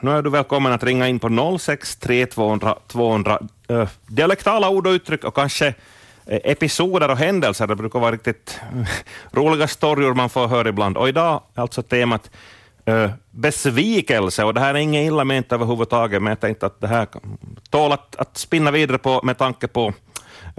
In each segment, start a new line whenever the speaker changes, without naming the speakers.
Nu är du välkommen att ringa in på 063 200 200 eh, dialektala ord och uttryck och kanske eh, episoder och händelser. Det brukar vara riktigt eh, roliga stories man får höra ibland. Och idag är alltså temat eh, besvikelse och det här är inget illa ment överhuvudtaget, men jag tänkte att det här kan- tål att, att spinna vidare på med tanke på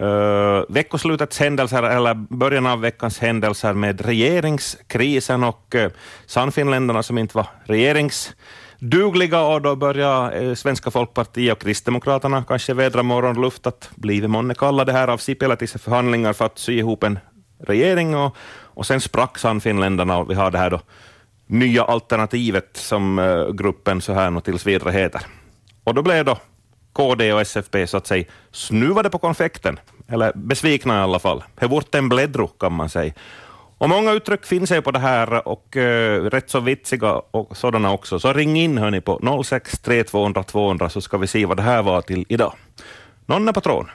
Uh, veckoslutets händelser eller början av veckans händelser med regeringskrisen och uh, Sannfinländarna som inte var regeringsdugliga och då börjar eh, Svenska folkpartiet och Kristdemokraterna kanske vädra morgonluft att blivit månne kallade här av Sipilä till sig förhandlingar för att sy ihop en regering och, och sen sprack Sannfinländarna och vi har det här då nya alternativet som eh, gruppen så här och tills vidare heter. Och då blev då KD och SFP så att säga snuvade på konfekten, eller besvikna i alla fall. Det vart en bläddro kan man säga. Och många uttryck finns ju på det här och eh, rätt så vitsiga och sådana också. Så ring in hörni på 063 200 200 så ska vi se vad det här var till idag. Någon är på tråden.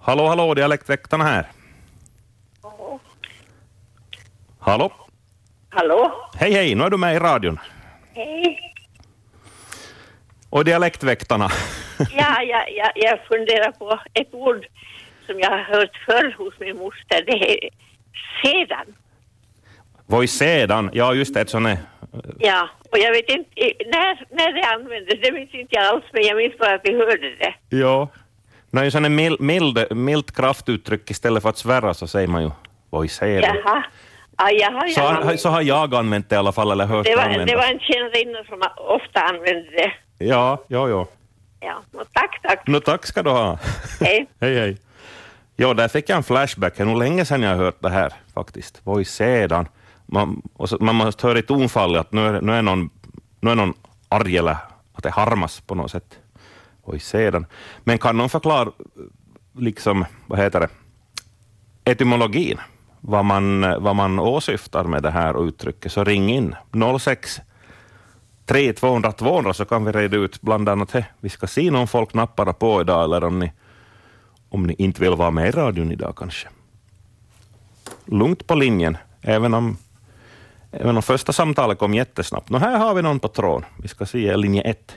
Hallå, hallå, dialektväktarna här. Hallå?
Hallå?
Hej, hej, nu är du med i radion.
Hej.
Och dialektväktarna.
Ja, ja, ja, jag funderar på ett ord som jag har hört förr hos min moster. Det är sedan.
Voi sedan, ja just det, ett sånt är.
Ja, och jag vet inte eh, när, när det användes. Det minns inte jag alls, men jag minns bara att vi hörde det.
Ja. Nej, en sån här mild, mild, milt kraftuttryck istället för att svära så säger man ju voi sedan.
Jaha. Ja, jaha,
Så,
jaha.
har- så har jag använt det i alla fall, eller hört
Det var,
användas.
det var en tjänarinna som ofta använde det.
Ja, ja, ja.
Ja, men tack, tack.
Nå, tack ska du ha.
Hej.
hej, hej. Ja, där fick jag en flashback. Det är nog länge sedan jag har hört det här faktiskt. Voi sedan. Man, och så, man måste höra i tonfallet att nu är, nu, är någon, nu är någon arg eller att det harmas på något sätt. Voi sedan. Men kan någon förklara, liksom, vad heter det, etymologin? Vad man, vad man åsyftar med det här uttrycket, så ring in 06 3 200 200 så kan vi reda ut bland annat det. Vi ska se om folk nappar på idag eller om ni om ni inte vill vara med i radion idag kanske. Lugnt på linjen, även om, även om första samtalet kom jättesnabbt. Nå, här har vi någon på tråden. Vi ska se linje ett.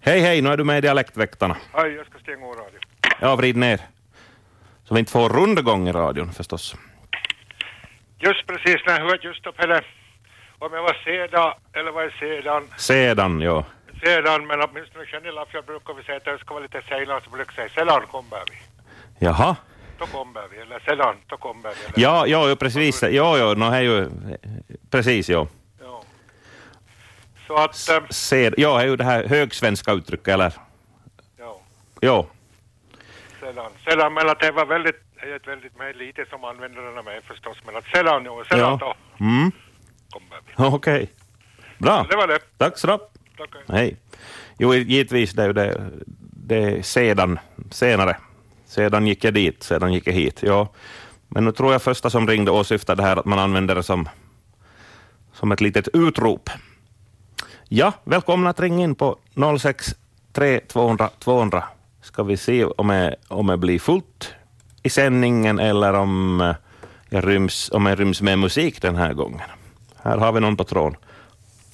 Hej, hej, nu är du med i Dialektväktarna.
Hej, jag ska stänga av radio.
Ja, vrid ner. Så vi inte får rundgång i radion förstås.
Just precis när jag hörde just upp hela, om jag var sedan eller var jag sedan,
Sedan, ja.
sedan men åtminstone Janilla, för jag brukar väl säga att jag ska vara lite senare så brukar jag säga sedan kommer vi.
Jaha.
Då kommer vi, eller sedan, då kommer vi. Eller,
Ja, ja, ja precis. Ja, ja, no, här är ju... Precis, ja.
ja. Så att, ähm, äm,
Sed, ja, här är ju det här högsvenska uttrycket, eller?
ja,
Ja,
sedan, sedan, men att det var väldigt, det är ett väldigt mer lite som använder den av mig förstås, men att sedan, ja, sedan
Ja.
då
mm,
kommer vi.
okej. Bra.
Det var det,
Tack så du
tack. hej.
Hej. Jo, givetvis, det är ju det, det är sedan, senare. Sedan gick jag dit, sedan gick jag hit. Ja. Men nu tror jag första som ringde åsyftade det här att man använder det som, som ett litet utrop. Ja, välkomna att ringa in på 063 200 200. Ska vi se om jag, om jag blir fullt i sändningen eller om eh, jag, ryms, om jag ryms med musik den här gången. Här har vi någon på tråden.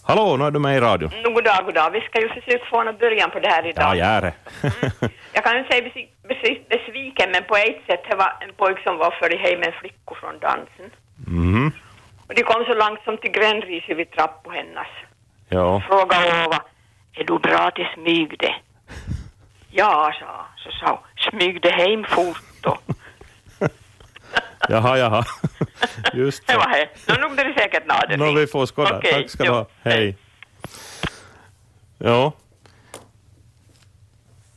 Hallå, nu är du med i radion.
No, goddag, goddag. Vi ska ju försöka få någon början på det här idag.
Ja, jag är det.
Jag kan ju säga besvi- besvi- besviken, men på ett sätt det var en pojke som var förd hem med flickor från dansen.
Mhm.
Och de kom så långt som till grändriset vid trappan hennes.
Ja,
Fråga Ova, är du bra till smyg det? Ja, sa Så sa hon, smyg det hem fort då.
jaha, jaha. Just
Det
det.
var det. Nå, nog är det säkert något.
Nå, vi får skåda.
Okej,
Tack ska du
jo.
ha. Hej. Ja.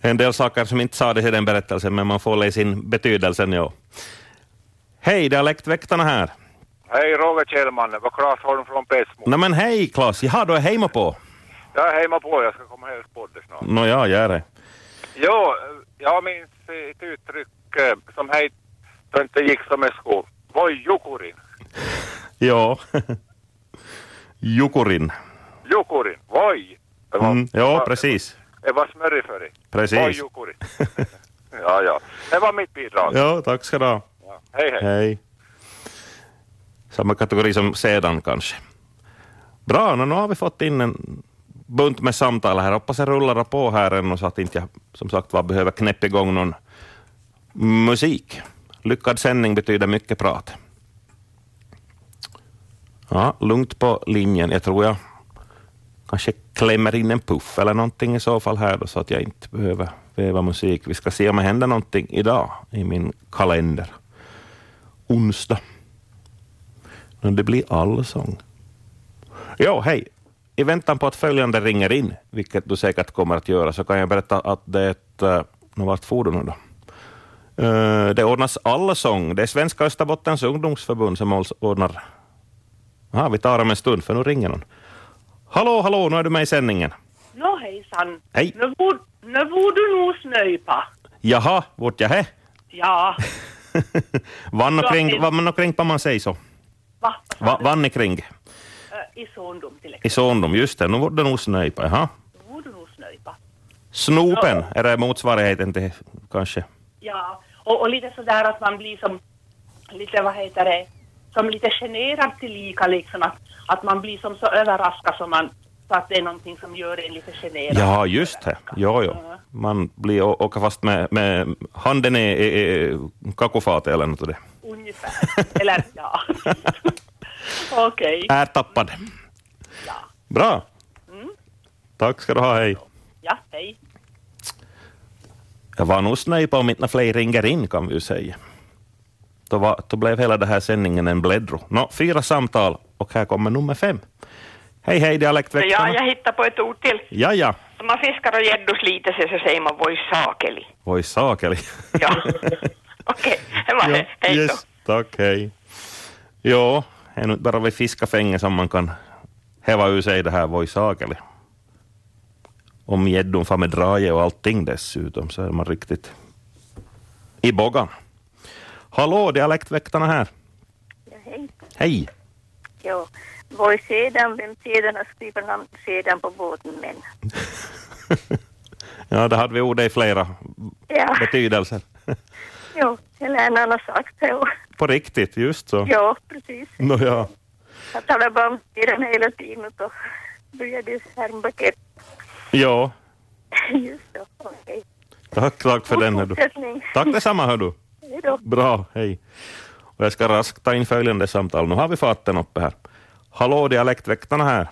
En del saker som inte sades i den berättelsen, men man får läsa in betydelsen, ja. Hej, dialektväktarna här.
Hej, Roger Kjellman, det var Claes Holm från Pessmo.
Nej men hej Klas, jaha du är hemma på?
Jag är hemma på, jag ska komma och hälsa på dig snart.
Nå ja, jag är det.
Ja, jag minns ett uttryck eh, som hej, då inte gick som en sko. Voi jukurin.
Ja. Jukurin.
Jukurin. Voi. Det var-
Mm, ja, precis.
Det var smörrig för dig. Voi
Precis.
jukurin. ja, ja. Det var mitt bidrag.
Ja, tack ska du ha.
Ja. Hej, hej.
Hej. Samma kategori som sedan kanske. Bra, nå, nu har vi fått in en bunt med samtal här. Hoppas jag rullar på här ännu så att inte jag som sagt var behöver knäppa igång någon musik. Lyckad sändning betyder mycket prat. Ja, lugnt på linjen. Jag tror jag kanske klämmer in en puff eller någonting i så fall här då, så att jag inte behöver veva musik. Vi ska se om det händer någonting idag i min kalender. Onsdag. Men det blir allsång. Jo, hej. I väntan på att följande ringer in, vilket du säkert kommer att göra, så kan jag berätta att det är ett... eh, nå, Vart for du nu då? Eh, Det ordnas allsång. Det är Svenska Österbottens ungdomsförbund som alls- ordnar... Aha, vi tar dem en stund, för nu ringer någon. Hallå, hallå, nu är du med i sändningen.
Nå hejsan.
Hej.
Nu bor, nu bor du nog snöjpa.
Jaha, vart jag är?
Ja,
Vann och
Ja,
kring,
hej.
vann och kring, vad man säger så.
va?
Va, vann i kring.
Ö, I Sondom till exempel.
I Sondom, just det. Nu var det nog snöjpa, jaha.
Nu bor du nog snöjpa.
Snopen, är det motsvarigheten till kanske?
Ja, och, och lite sådär att man blir som lite, vad heter det, som lite generad tillika liksom att, att man blir som så överraskad som man, så att det är någonting som gör en lite generad.
Ja, just det. Ja, ja.
Ja.
Man blir å- åka fast med, med handen i, i, i kakofatet eller något av det.
Ungefär. Eller ja. Okej.
Är tappad.
Ja.
Bra.
Mm.
Tack ska du ha, hej.
Ja, hej.
Jag var nog snöjd på om inte fler ringer in kan vi ju säga. Då, var, då blev hela den här sändningen en bläddro. Nå, fyra samtal och här kommer nummer fem. Hej hej
Ja,
dialektväktarna.
jag hittade på ett ord till.
ja, ja.
Om man fiskar och gäddor sliter sig så säger man voi sakeli.
Voi saakeli.
Ja. Okej, det var det. Hej då.
yes, tack, hej. Ja, det är nu inte bara vid fiskafänge som man kan häva ur sig det här voi saakeli. Om gäddon far med drage och allting dessutom så är man riktigt i boggan. Hallå, dialektväktarna här.
Ja, hej.
Hej.
Ja. Vad är sedan? Vem sedan har skrivit namn sedan på båten? Men
Ja, det hade vi ordet i flera
ja,
betydelser.
jo, eller en annan sagt så.
På riktigt, just så.
Ja, precis.
Nåja.
Jag talar bara om den hela tiden och börjar det härmbaket.
Ja,
Just det, okej.
tack, tack för den. hör du.
Fortsättning.
Tack detsamma, hör du.
Hej då.
Bra, hej. Och jag ska raskt ta in följande samtal. Nu har vi farten uppe här. Hallå, dialektväktarna här.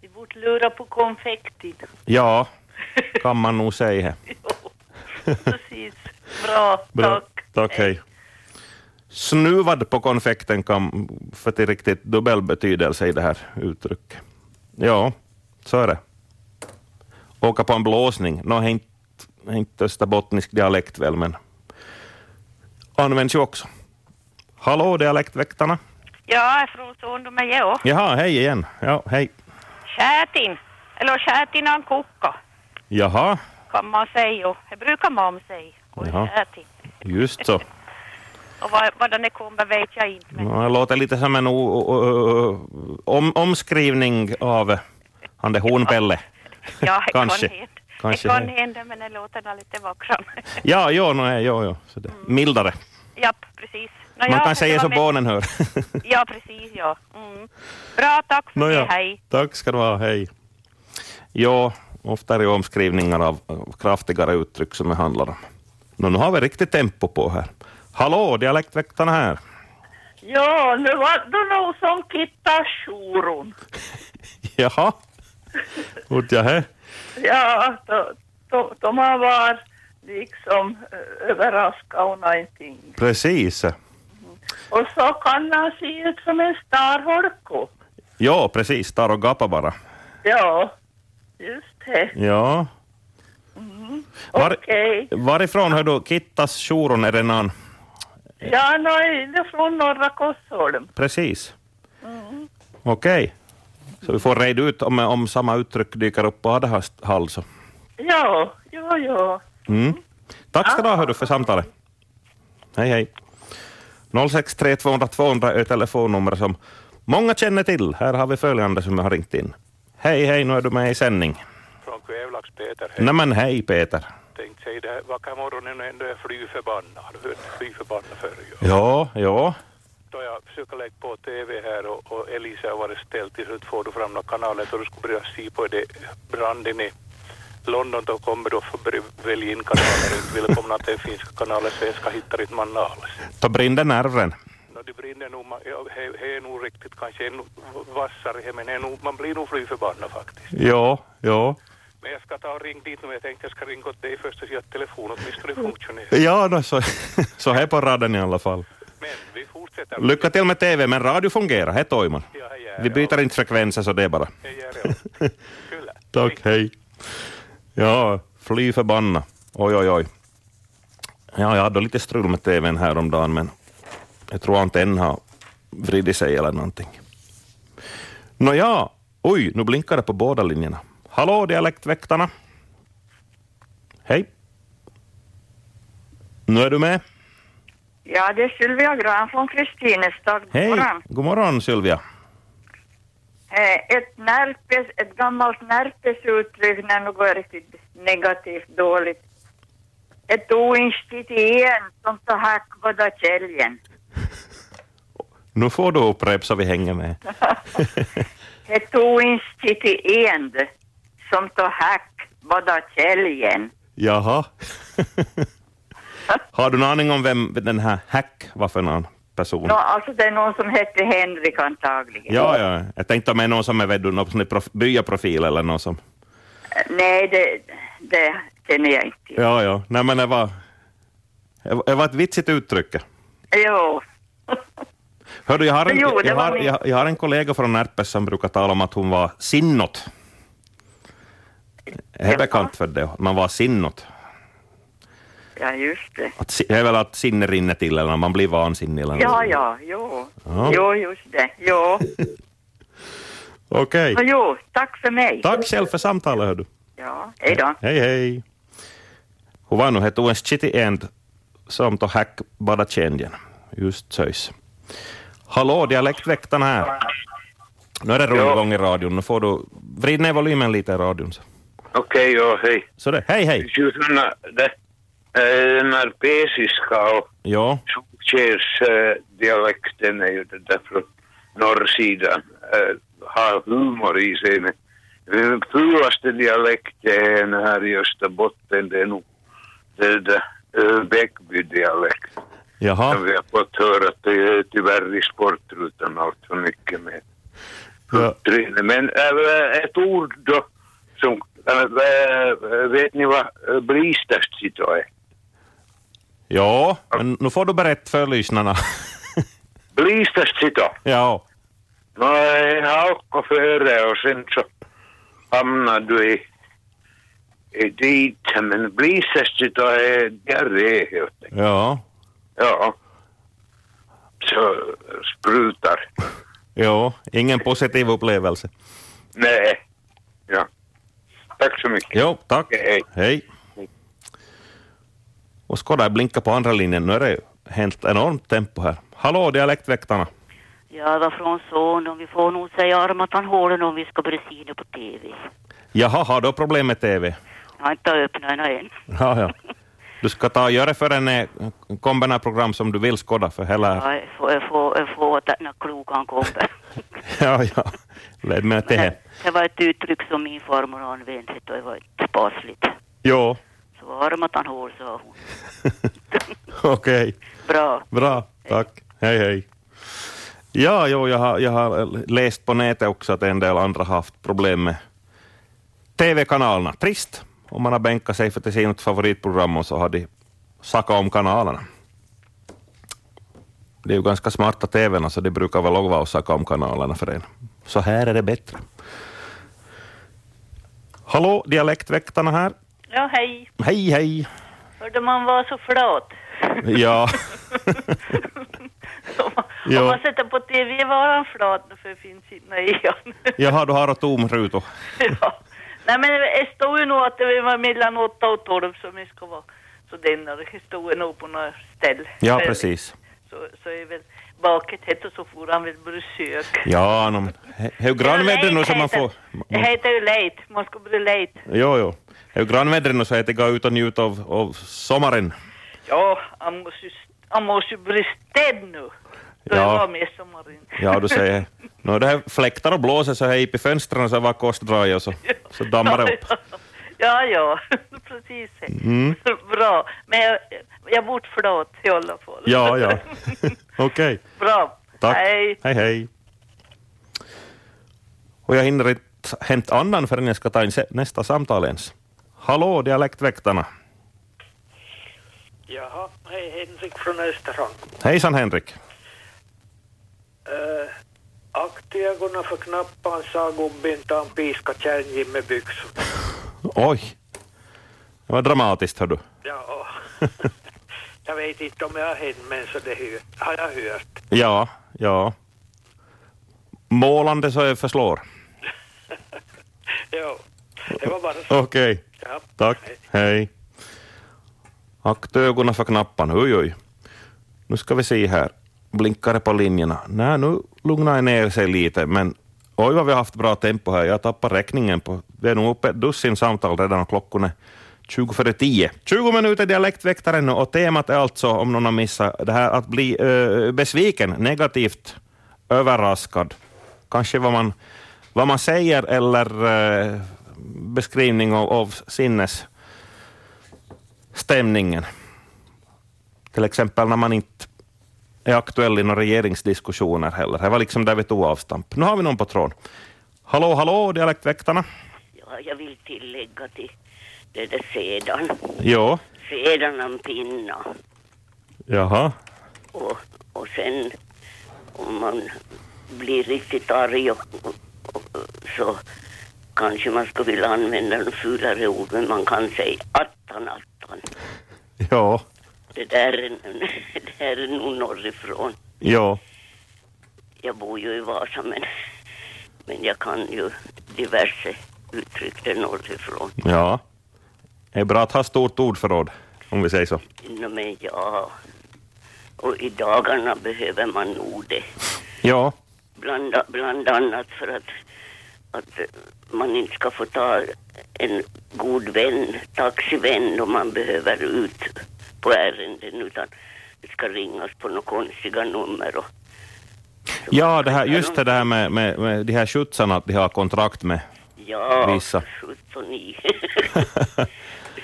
Vi borde lura på konfektin.
Ja, kan man nog säga.
Precis. Bra,
Bra. Tack, hej. Snuvad på konfekten kan få till riktigt dubbel betydelse i det här uttrycket. Ja, så är det. Åka på en blåsning. Nå, det är inte, det är inte österbottnisk dialekt väl, men används ju också. Hallå, dialektväktarna.
Ja, från Sondom är jag.
Jaha, hej igen. Ja, hej.
Kätin, eller kätinan kukka
Jaha,
kan man säga. Det brukar man säga. Och
Jaha.
kätin.
just så.
Och vad, vad den kommer vet jag inte. Men
Ja, Det låter lite som en o- o- o- om, omskrivning av han det hornpelle.
ja, det kan
Kanske.
hända.
Kanske
det kan
det.
hända, men det låter nog lite vackrare.
Ja, ja, no, ja, ja. Så det. Mildare.
Japp, precis. Nå,
Man
ja,
kan
det
säga
var
som
mest-
barnen hör.
Ja, precis, ja. Mm. Bra, tack för
Nåja,
det. Hej.
Tack ska du ha, hej. Ja, ofta är det omskrivningar av av kraftigare uttryck som det handlar om. Nå, nu har vi riktigt tempo på här. Hallå, dialektväktarna här.
Ja, nu var det nog som kittasjoron.
Jaha, hört jag här?
Ja, då, då, då man var liksom eh, överraskad och någonting.
Precis.
Och så kan han se ut som en starholko.
Ja, precis. Tar och gapar bara.
Ja, just det.
Ja. Var,
Okej.
Varifrån hör du Kittas tjoron är den an?
Ja, nu är det från norra Korsholm.
Precis. Okej. Så vi får reda ut om, om samma uttryck dyker upp på Adahall. så.
Ja, ja, ja.
Mm. Tack ska du ha hör du, för samtalet. Hej hej. 063 200 200 är telefonnumret som många känner till. Här har vi följande som jag har ringt in. Hej hej, nu är du med i sändning.
Från Kvävlax, Peter. Hej.
Nämen hej Peter.
Tänkte säga det här vackra morgonen och ändå är jag fly förbannad. Har du hört fly förbannad förr? ju?
Ja, ja.
då jag försöker lägga på TV här och, och Elisa har varit ställd till slut får du fram några kanaler och du skulle börja se på det branden i London då kommer du att få börja välja in kanaler. Inte välkomna till finska kanaler, svenska hittar inte man alls.
Då brinner nerven.
No, det brinner nog, man, ja, he, he är nog riktigt kanske ännu vassare här, men he är nog, man blir nog fly förbannad faktiskt.
Ja, ja.
Men jag ska ta och ringa dit nu, jag tänkte jag ska ringa åt dig först och se att telefonen åtminstone funktionerar.
Ja, no, så, så här på raden i alla fall.
Men vi fortsätter.
Lycka till med TV, men radio fungerar, hej Toiman.
Ja, hej, hej,
Vi byter inte frekvenser så det är bara.
Jag gör det. Kyllä.
Tack, hej. Ja, fly förbanna. Oj, oj, oj. Ja, jag hade lite strul med TVn häromdagen, men jag tror antennen har vridit sig eller någonting. Nåja, oj, nu blinkar det på båda linjerna. Hallå, dialektväktarna. Hej. Nu är du med.
Ja, det är Sylvia Gran från Kristinestad. God
Hej.
morgon.
God morgon, Sylvia.
Eh, Ett, närpes, ett gammalt närpesuttryck när något är riktigt negativt, dåligt. Ett oinstituen som tar hack på da käljen.
Nu får du upprepa så vi hänger med.
Ett oinstituen som tar hack på da käljen.
Jaha. Har du någon aning om vem den här Hack var för någon person?
Nå, alltså det är någon som heter Henrik antagligen.
Ja, ja. Jag tänkte om det är någon som är vet du, någon sån där prof- byaprofil eller någon som...
Eh, Nej, det, det känner jag inte.
Ja, ja. Nej, men det var... Det var ett vitsigt uttryck.
Jo,
Hördu, jag, har en,
Jo, det
jag,
var
har,
min-
jag, jag har en kollega från Närpes som brukar tala om att hon var sinnot. Är det bekant för det? Man var sinnot.
ja just det.
Att, si- det är väl att sinne rinner till eller man blir vansinnig eller
Ja,
något.
ja, jo.
Ja.
Jo, just det. Jo.
Okej.
Nå, jo, tack för mig.
Tack själv för samtalet, hördu.
Ja, hej då.
Hej, hej. Huvanu he tuen chiti end som to hack bara tjänjen. Just söjs. Hallå, dialektväktaren här. Nu är det rundgång i radion. Nu får du vrida ner volymen lite i radion. så.
Okej, okay, ja, hej.
Så det, hej, hej.
Just sådana där eh, narpesiska och
Ja,
eh, dialekten är ju det där från norrsidan. Eh, har humor i sig. Men den fulaste dialekten här i Österbotten det är nog det där eh, Bäckby-dialekt. Som
jaha.
vi har fått höra att det är tyvärr i sportrutan allt för mycket med.
Ja.
Tryne. Men äh, ett ord då som, äh, äh, vet ni vad äh, blistarsito är?
Ja, men nu får du berätta för lyssnarna.
Blistarsito.
ja,
No ei haukko före och sen så hamnar du i, i dit. Men blistarsito är diarré helt enkelt.
ja,
Ja. Så sprutar.
ja. Ingen positiv upplevelse.
Nej. Ja. Tack så mycket.
Jo, tack.
Hej.
Hej. Och skåda blinka på andra linjen. Nu är det helt enormt tempo här. Hallå, dialektväktarna.
Ja, varifrån son, om vi får nog säga armatanhålen om vi ska börja se det på TV.
Jaha, har du problem med TV?
Jag har inte öppnat den än.
Ja, ja. Du ska ta och göra för en kombinera program som du vill skåda för hela...
Jag får, jag får, jag får att när klokan kommer.
Ja, ja. Led med till
Men
det.
det, det var ett uttryck som min farmor använde, vet du, det var inte sparsligt.
Jo,
Så armatanhål, sa hon.
okej.
Bra.
Bra, tack. Hej, hej. Ja, jo, jag, har, jag har läst på nätet också att en del andra har haft problem med TV-kanalerna. Trist, om man har bänkat sig för att se något favoritprogram och så har de sackat om kanalerna. Det är ju ganska smarta TVn, så det brukar väl också vara att sacka om kanalerna för en. Så här är det bättre. Hallå, dialektväktarna här.
Ja, hej.
Hej, hej.
Hörde man var så flat.
Ja,
Om man-
Ja.
Om man sätter på TV var han flat, för det finns inte några i han.
jaha, du har tom ruta.
ja. Nej, men det står ju nog att det var mellan 8 och 12 som det ska vara. Så den har det står ju nog på några ställe.
Ja,
Men
precis.
Så, så är väl baket hett och så får han väl brösök.
Ja, no, men he- hur grannvädret nu som man får...
Det heter ju late, man ska bli late.
Jo, jo. Hur grannvädret nu så heter det gå ut och njuta av, av sommaren.
Ja, han måste ju, han måste ju bli städd nu. Då jag
Ja.
var med sommarin.
Ja, du säger. Nå, det här fläktar och blåser så här upp i fönstren så var korsdraget och så, så dammar det upp.
Ja, ja, precis.
Mm.
Bra. Men jag, jag bort flat i alla fall.
Ja, ja. Okej.
Bra.
Tack.
Hej.
hej. hej. Och jag hinner inte hämta annan förrän jag ska ta in se- nästa samtal ens. Hallå, dialektväktarna.
Jaha, hej Henrik från Östersund.
Hejsan Henrik.
Uh, akta ögonen för knappan, sa gubben, ta en piska kärnjim med byxorna.
Oj. Det var dramatiskt, hör du.
Ja, jag vet inte om jag har hänt, men så det hö- har jag hört.
Ja, ja. Målande så jag förslår.
Ja, det var bara så.
Okej.
Ja.
Tack. Hej. Akta ögonen för knappan. Oj, oj. Nu ska vi se här. Blinkar det på linjerna? Nej, nu lugnar jag ner sig lite, men oj vad vi har haft bra tempo här. Jag tappar räkningen på... Det är nog uppe ett dussin samtal redan och klockan är 20 före 10. 20 minuter dialektväktaren nu och temat är alltså, om någon har missat, det här att bli eh, besviken, negativt överraskad. Kanske vad man, vad man säger eller eh, beskrivning av, av sinnesstämningen. Till exempel när man inte är aktuell i några regeringsdiskussioner heller. Det var liksom där vi tog avstamp. Nu har vi någon på tråden. Hallå, hallå, dialektväktarna.
Ja, jag vill tillägga till det där sedan.
Ja,
Sedan om pinna.
jaha.
Och, och sen om man blir riktigt arg och, och, och, så kanske man skulle vilja använda en fulare ord, men man kan säga attan, attan.
Ja,
Det där är, det här är nog norrifrån.
ja,
Jag bor ju i Vasa, men, men jag kan ju diverse uttryck där norrifrån.
ja. Det är bra att ha stort ordförråd, om vi säger så.
Nej, men ja. Och i dagarna behöver man nog det.
Ja,
Bland, bland annat för att, att man inte ska få ta en god vän, taxivän, om man behöver ut på ärenden utan det ska ringas på några konstiga nummer. Och,
ja det här, just det där med, med, med de här skjutsarna, att de har kontrakt med
ja,
vissa.
79.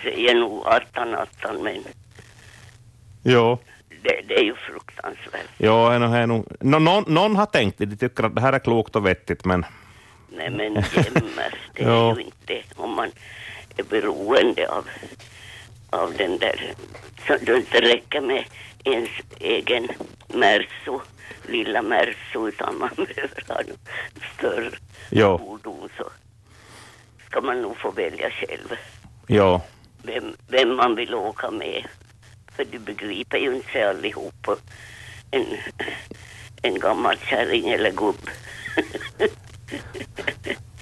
Säger nog attan, attan, men
Ja.
det, det är ju fruktansvärt.
Ja, det är nog- det är nog... Nå, någon, någon har tänkt det, de tycker att det här är klokt och vettigt, men...
Nej men jämmer, det
Ja.
är ju inte om man är beroende av, av den där. Så det inte räcker med ens egen Merso, lilla Merso, utan man behöver ha något större
Ja.
fordon så ska man nog få välja själv
Ja,
vem, vem man vill åka med. För du begriper ju inte sig allihop. Och En, en gammal kärring eller gubb.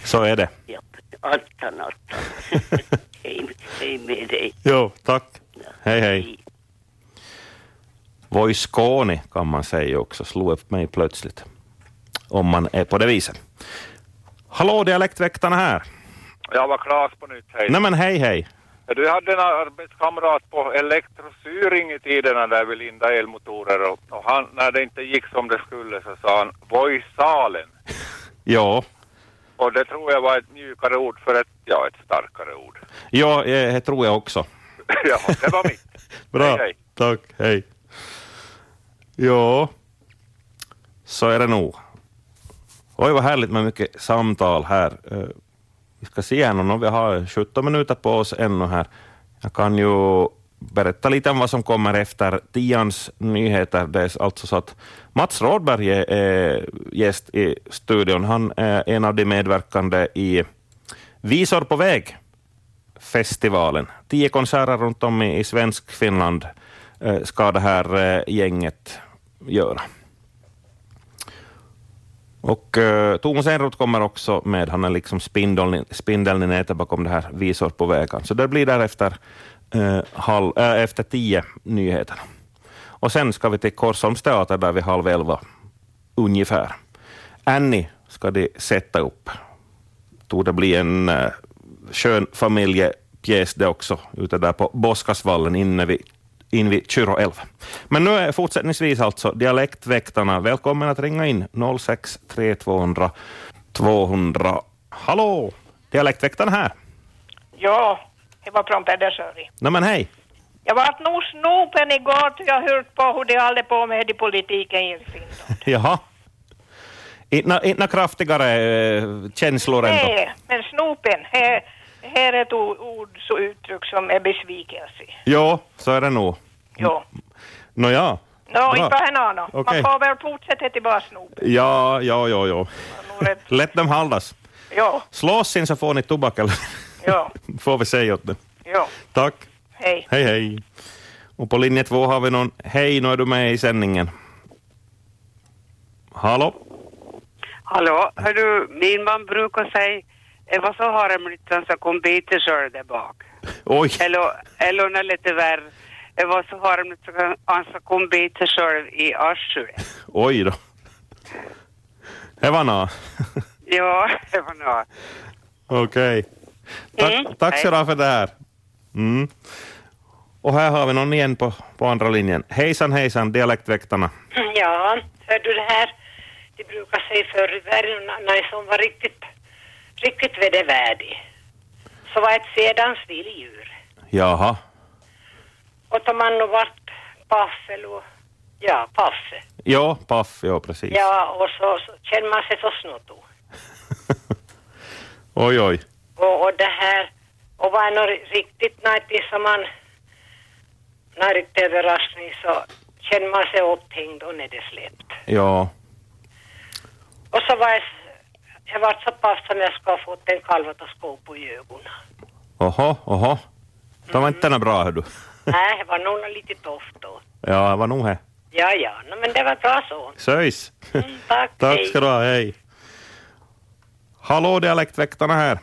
så är det.
Attan, attan. hej, hej med dig.
Jo, tack. Hej, hej. Voi Skåne kan man säga också, slog upp mig plötsligt. Om man är på det viset. Hallå, dialektväktarna här.
Jag var Klas på nytt, hej.
Nej men hej, hej.
Du hade en arbetskamrat på elektrosyring i tiderna där vi lindade elmotorer och, och han, när det inte gick som det skulle så sa han Voi salen.
Ja,
Och det tror jag var ett mjukare ord för ett, ja, ett starkare ord.
ja, eh, det tror jag också.
ja, det var mitt.
Bra,
Hej, hej.
tack, hej. Ja, så är det nog. Oj, vad härligt med mycket samtal här. Eh, Vi ska se här nu, nu, vi har 17 minuter på oss ännu här. Jag kan ju berätta lite om vad som kommer efter tians nyheter. Det är alltså så att Mats Rådberg är eh, gäst i studion. Han är en av de medverkande i Visor på väg festivalen. Tio konserter runt om i, i svensk Finland eh, ska det här eh, gänget göra. Och eh, Thomas Enroth kommer också med, han är liksom spindeln, i- spindeln i nätet bakom det här Visor på vägen. Så det blir därefter eh, halv, eh, efter tio nyheterna. Och sen ska vi till Korsholms teater där vid halv elva ungefär. Annie ska de sätta upp tog det bli en uh, skön familjepjäs det också, ute där på Boskasvallen inne vid in vid Kyrå 11. Men nu är fortsättningsvis alltså dialektväktarna välkommen att ringa in 06 3200 200. Hallå! Dialektväktarna här.
Ja, det var från Pedersöri.
Nej men hej!
Jag vart nog snopen igår då jag hört på hur de håller på med i politiken i Finland.
Jaha. Inte inte kraftigare eh, känslor än då?
Nej, men snopen, här, här är ett o- ord så uttryck som är besvikelse.
Ja, så är det nog.
Ja.
Nåja.
Nå,
Bra.
inte vad här nå.
Okej.
Man får väl fortsätta till bara snop.
Ja, ja, ja, ja. Lätt dem haldas.
Ja,
Slås in så får ni tobak eller
ja,
får vi säga åt det.
ja.
Tack.
Hej.
Hej, hej. Och på linje två har vi någon. Hej, nu är du med i sändningen. Hallå?
Hallå, hör du, min man brukar säga, "Eh, vad så har de liten så kom biter själv där bak.
Oj.
Eller, eller något lite värre, "Eh, vad så har de lite han så kom biter själv i arslet.
Oj då. Det var nå.
Ja, det var något.
Okej. Tack,
Mm,
tack
hej.
så mycket för det här. Mm. Och här har vi någon igen på, på andra linjen. Hejsan, hejsan, dialektväktarna.
Ja, hör du det här? De brukar säga förr i världen när som var riktigt, riktigt vedervärdig. Så var ett sedans vilddjur.
Jaha.
Och om man nu vart paff eller och- ja, paff.
Ja, paff, ja precis.
Ja, och så, så känner man sig så snotto.
Oj, oj.
Och, och det här, och var det något riktigt nöjt som man, när det är överraskning så känner man sig upphängd och nedsläppt.
Ja.
Och så var jag, jag var så pass som jag ska ha fått en kalv att skå på i ögonen.
Oho, oho. Det var inte nå bra, hör du.
Nej, det var nog något lite tufft då.
Ja, det var nog det.
Ja, ja, no, men det var bra så.
Söjs.
Tack,
Tack
hej.
ska du ha, hej. Hallå, dialektväktarna här.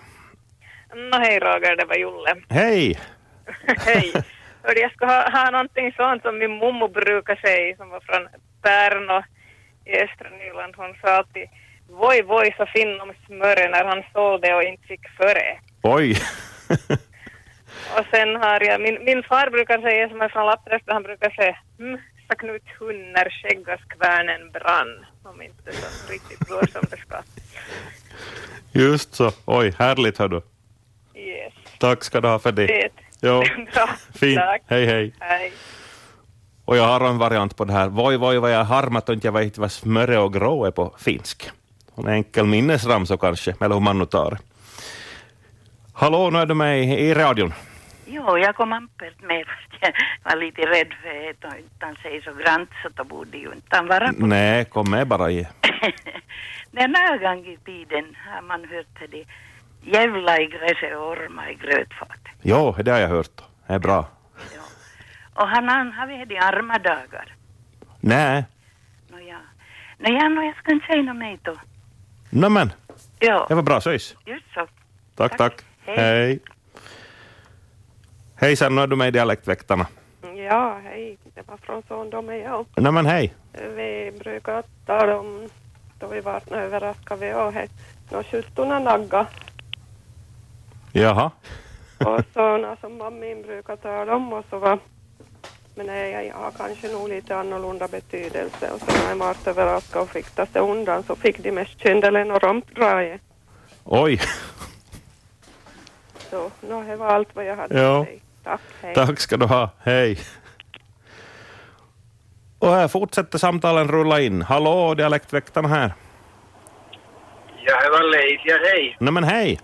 Nå hej Roger, det var Julle.
Hej!
hej. Hörde, jag ska ha, ha någonting sånt som min mommo brukar säga som var från Pärno i östra Nyland. Hon sa alltid voi voi så finn om smöret när han sålde och inte fick före.
Oj!
Och sen har jag, min, min far brukar säga som är från Lappträsk, han brukar säga hm, sa Knut hund när skäggas kvärnen brann. Om inte så riktigt går som det ska.
Just så. Oj, härligt, hör du.
Yes.
Tack ska du ha för det.
Det.
Ja,
Bra.
fint.
Tack.
Hej, hej.
Hej.
Och jag har en variant på det här. Voi, voi, vad jag harmat och inte jag vet vad smöre och grå är på finsk. En enkel minnesramsa kanske, eller hur man nu tar det. Hallå, nu är du med i- i radion.
Jo, jag kom ampert med fast jag var lite rädd för att han- han säger så grant så då borde ju inte han vara på.
Nej, kom med bara. I.
Den här gång i tiden har man hört det jävla i gräset och orma i grötfat.
Jo, det har jag hört. Det är bra.
Och han, han har vi de arma dagar.
Nej,
Nåja, nåja, nå, jag ska inte säga något mer då.
nämen.
Ja.
Det var bra, söjs.
Just så.
Tack, tack.
Hej.
Hej. Hejsan, nu är du med i Dialektväktarna.
Ja, hej. Det var från Sondom jag.
Nämen, hej.
Vi brukar tala om då vi var överraskade vi och hej. Nå kystorna nagga.
Jaha.
Och sådana som mammin brukar tala om och så var. Men nej, jag har kanske nog lite annorlunda betydelse. Och så när jag var överraskad och fick ta sig undan så fick de mest kyndelen och rompdraget.
Oj.
Så nå, det var allt vad jag hade
Ja.
att säga. Tack, hej.
Tack ska du ha. Hej. Och här fortsätter samtalen rulla in. Hallå, dialektväktarna här.
Ja, det var Leif. Ja, hej.
Nej men hej.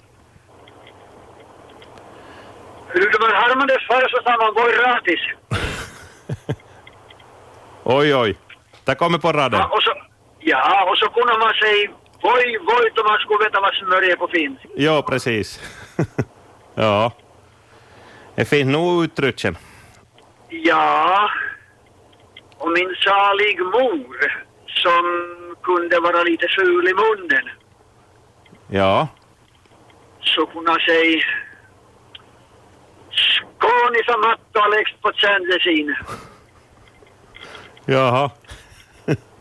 Hur det var Harmandes far så sa man går gratis.
Oj, oj. Där kommer på raden.
Ja, och så, ja, och så kunde man säga voi, voi, då man skulle veta vad smörj är på finsk.
Jo, precis. ja. Det finns nog uttrycken.
Ja, och min salig mor som kunde vara lite ful i munnen
Ja.
så kunde hon säga Skånisa matta och läxt på sändesin.
Jaha.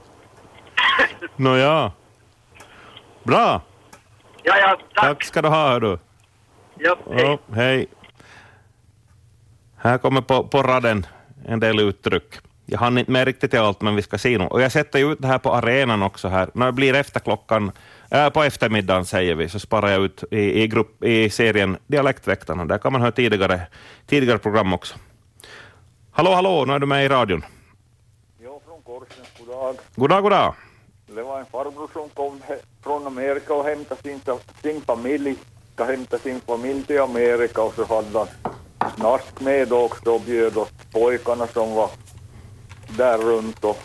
Nåja. Bra.
Ja, ja,
tack. Tack ska du ha, hör du.
Ja,
hej. hej. Här kommer på, på raden en del uttryck. Jag hann inte med riktigt till allt, men vi ska se nu. Och jag sätter ju ut det här på arenan också här. När det blir efter klockan, äh, på eftermiddagen säger vi, så sparar jag ut i, i, grupp, i serien Dialektväktarna. Där kan man höra tidigare, tidigare program också. Hallå, hallå, nu är du med i radion.
Ja, från Korsnäs, goddag.
God dag, god dag.
Det var en farbror som kom he- från Amerika och hämtade sin, sin familj. Ska hämta sin familj till Amerika och så hade han snask med också och bjöd oss pojkarna som var där runt och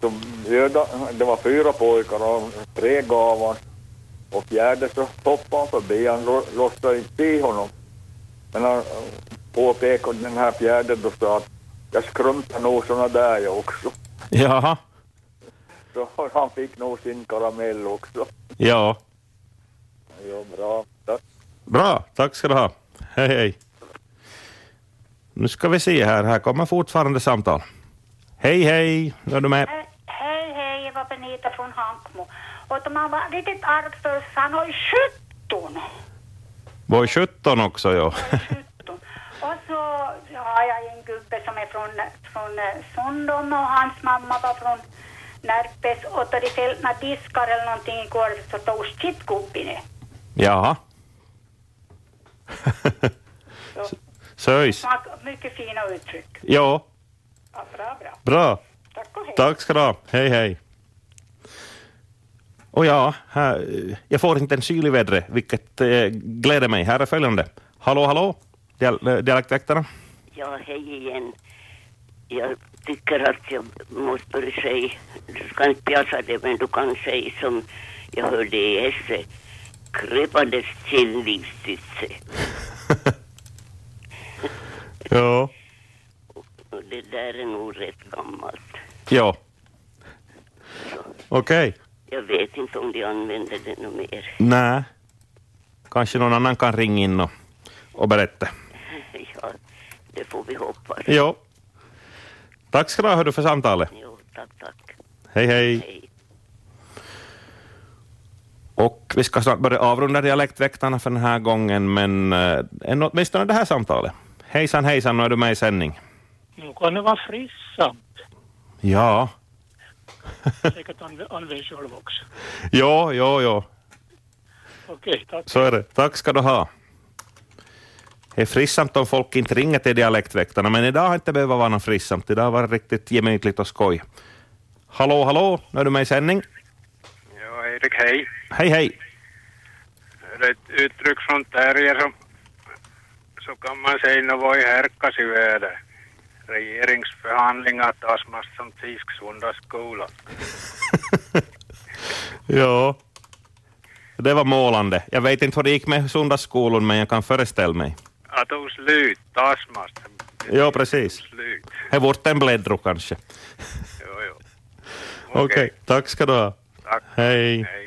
så bjöd, han- det var fyra pojkar och tre gav han och fjärde så hoppade han förbi, han lo- låtsade inte se honom. Men han eh, påpekade den här fjärde då sa att jag skrumpar nog såna där jag också.
Jaha,
Så han fick nog sin karamell också.
ja.
Ja, bra. Tack.
Bra, tack ska du ha. Hej, hej. Nu ska vi se här, här kommer fortfarande samtal. Hej, hej, nu är du med.
Hej, hej, jag var Benita från Hankmo. Och de har varit riktigt arg för oss. han har ju 17.
Var 17 också, ja.
Och så har jag en gubbe som är från, från eh, Sundom och hans mamma var från Närpes och då de fällde några diskar eller någonting igår så tog sitt gubbe ner.
Jaha. Söjs.
Smak- Mycket fina uttryck.
Ja. bra, bra. Bra.
Tack och hej.
Tack ska du ha. Hej, hej. Och ja, här, jag får inte en kyl i vädret, vilket eh, gläder mig. Här är följande. Hallå, hallå, Dial- eh, dialektväktarna.
Ja, hej igen. Jag tycker att jag måste börja säga, du ska inte pjassa det, men du kan säga som jag hörde i Esse, krypandes kändisstütze.
Ja.
Och det där är nog rätt gammalt.
Ja. Okej.
Jag vet inte om de använder det nog mer.
Nej. Kanske någon annan kan ringa in och, och berätta.
Ja, det får vi hoppas.
Ja. Tack ska du ha hördu, för samtalet.
Jo, tack, tack.
Hej, hej. Och vi ska snart börja avrunda dialektväktarna för den här gången, men eh, en- åtminstone det här samtalet. Hejsan, hejsan, nu är du med i sändning.
Nu kan det vara frissamt.
Ja,
Säkert anv- använder själv också.
ja, ja, ja.
Okej, tack.
Så är det. Tack ska du ha. Det är frissamt om folk inte ringer till dialektväktarna, men idag har inte behövt vara något frissamt. Idag var det riktigt gemytligt och skoj. Hallå, hallå, nu är du med i sändning.
Ja, Erik, hej.
Hej, hej.
Det är ett uttryck från Terje som så kan man säga nu var i härkas i väder. Regeringsförhandlingar tas mest som tisksunda skola.
Ja. Det var målande. Jag vet inte hur det gick med söndagsskolan, men jag kan föreställa mig.
Att hon slut, tas mest.
Ja, precis.
Slut.
Här vart en bläddro kanske.
Jo, jo.
Okej, tack ska du ha.
Tack.
Hej.
Hej.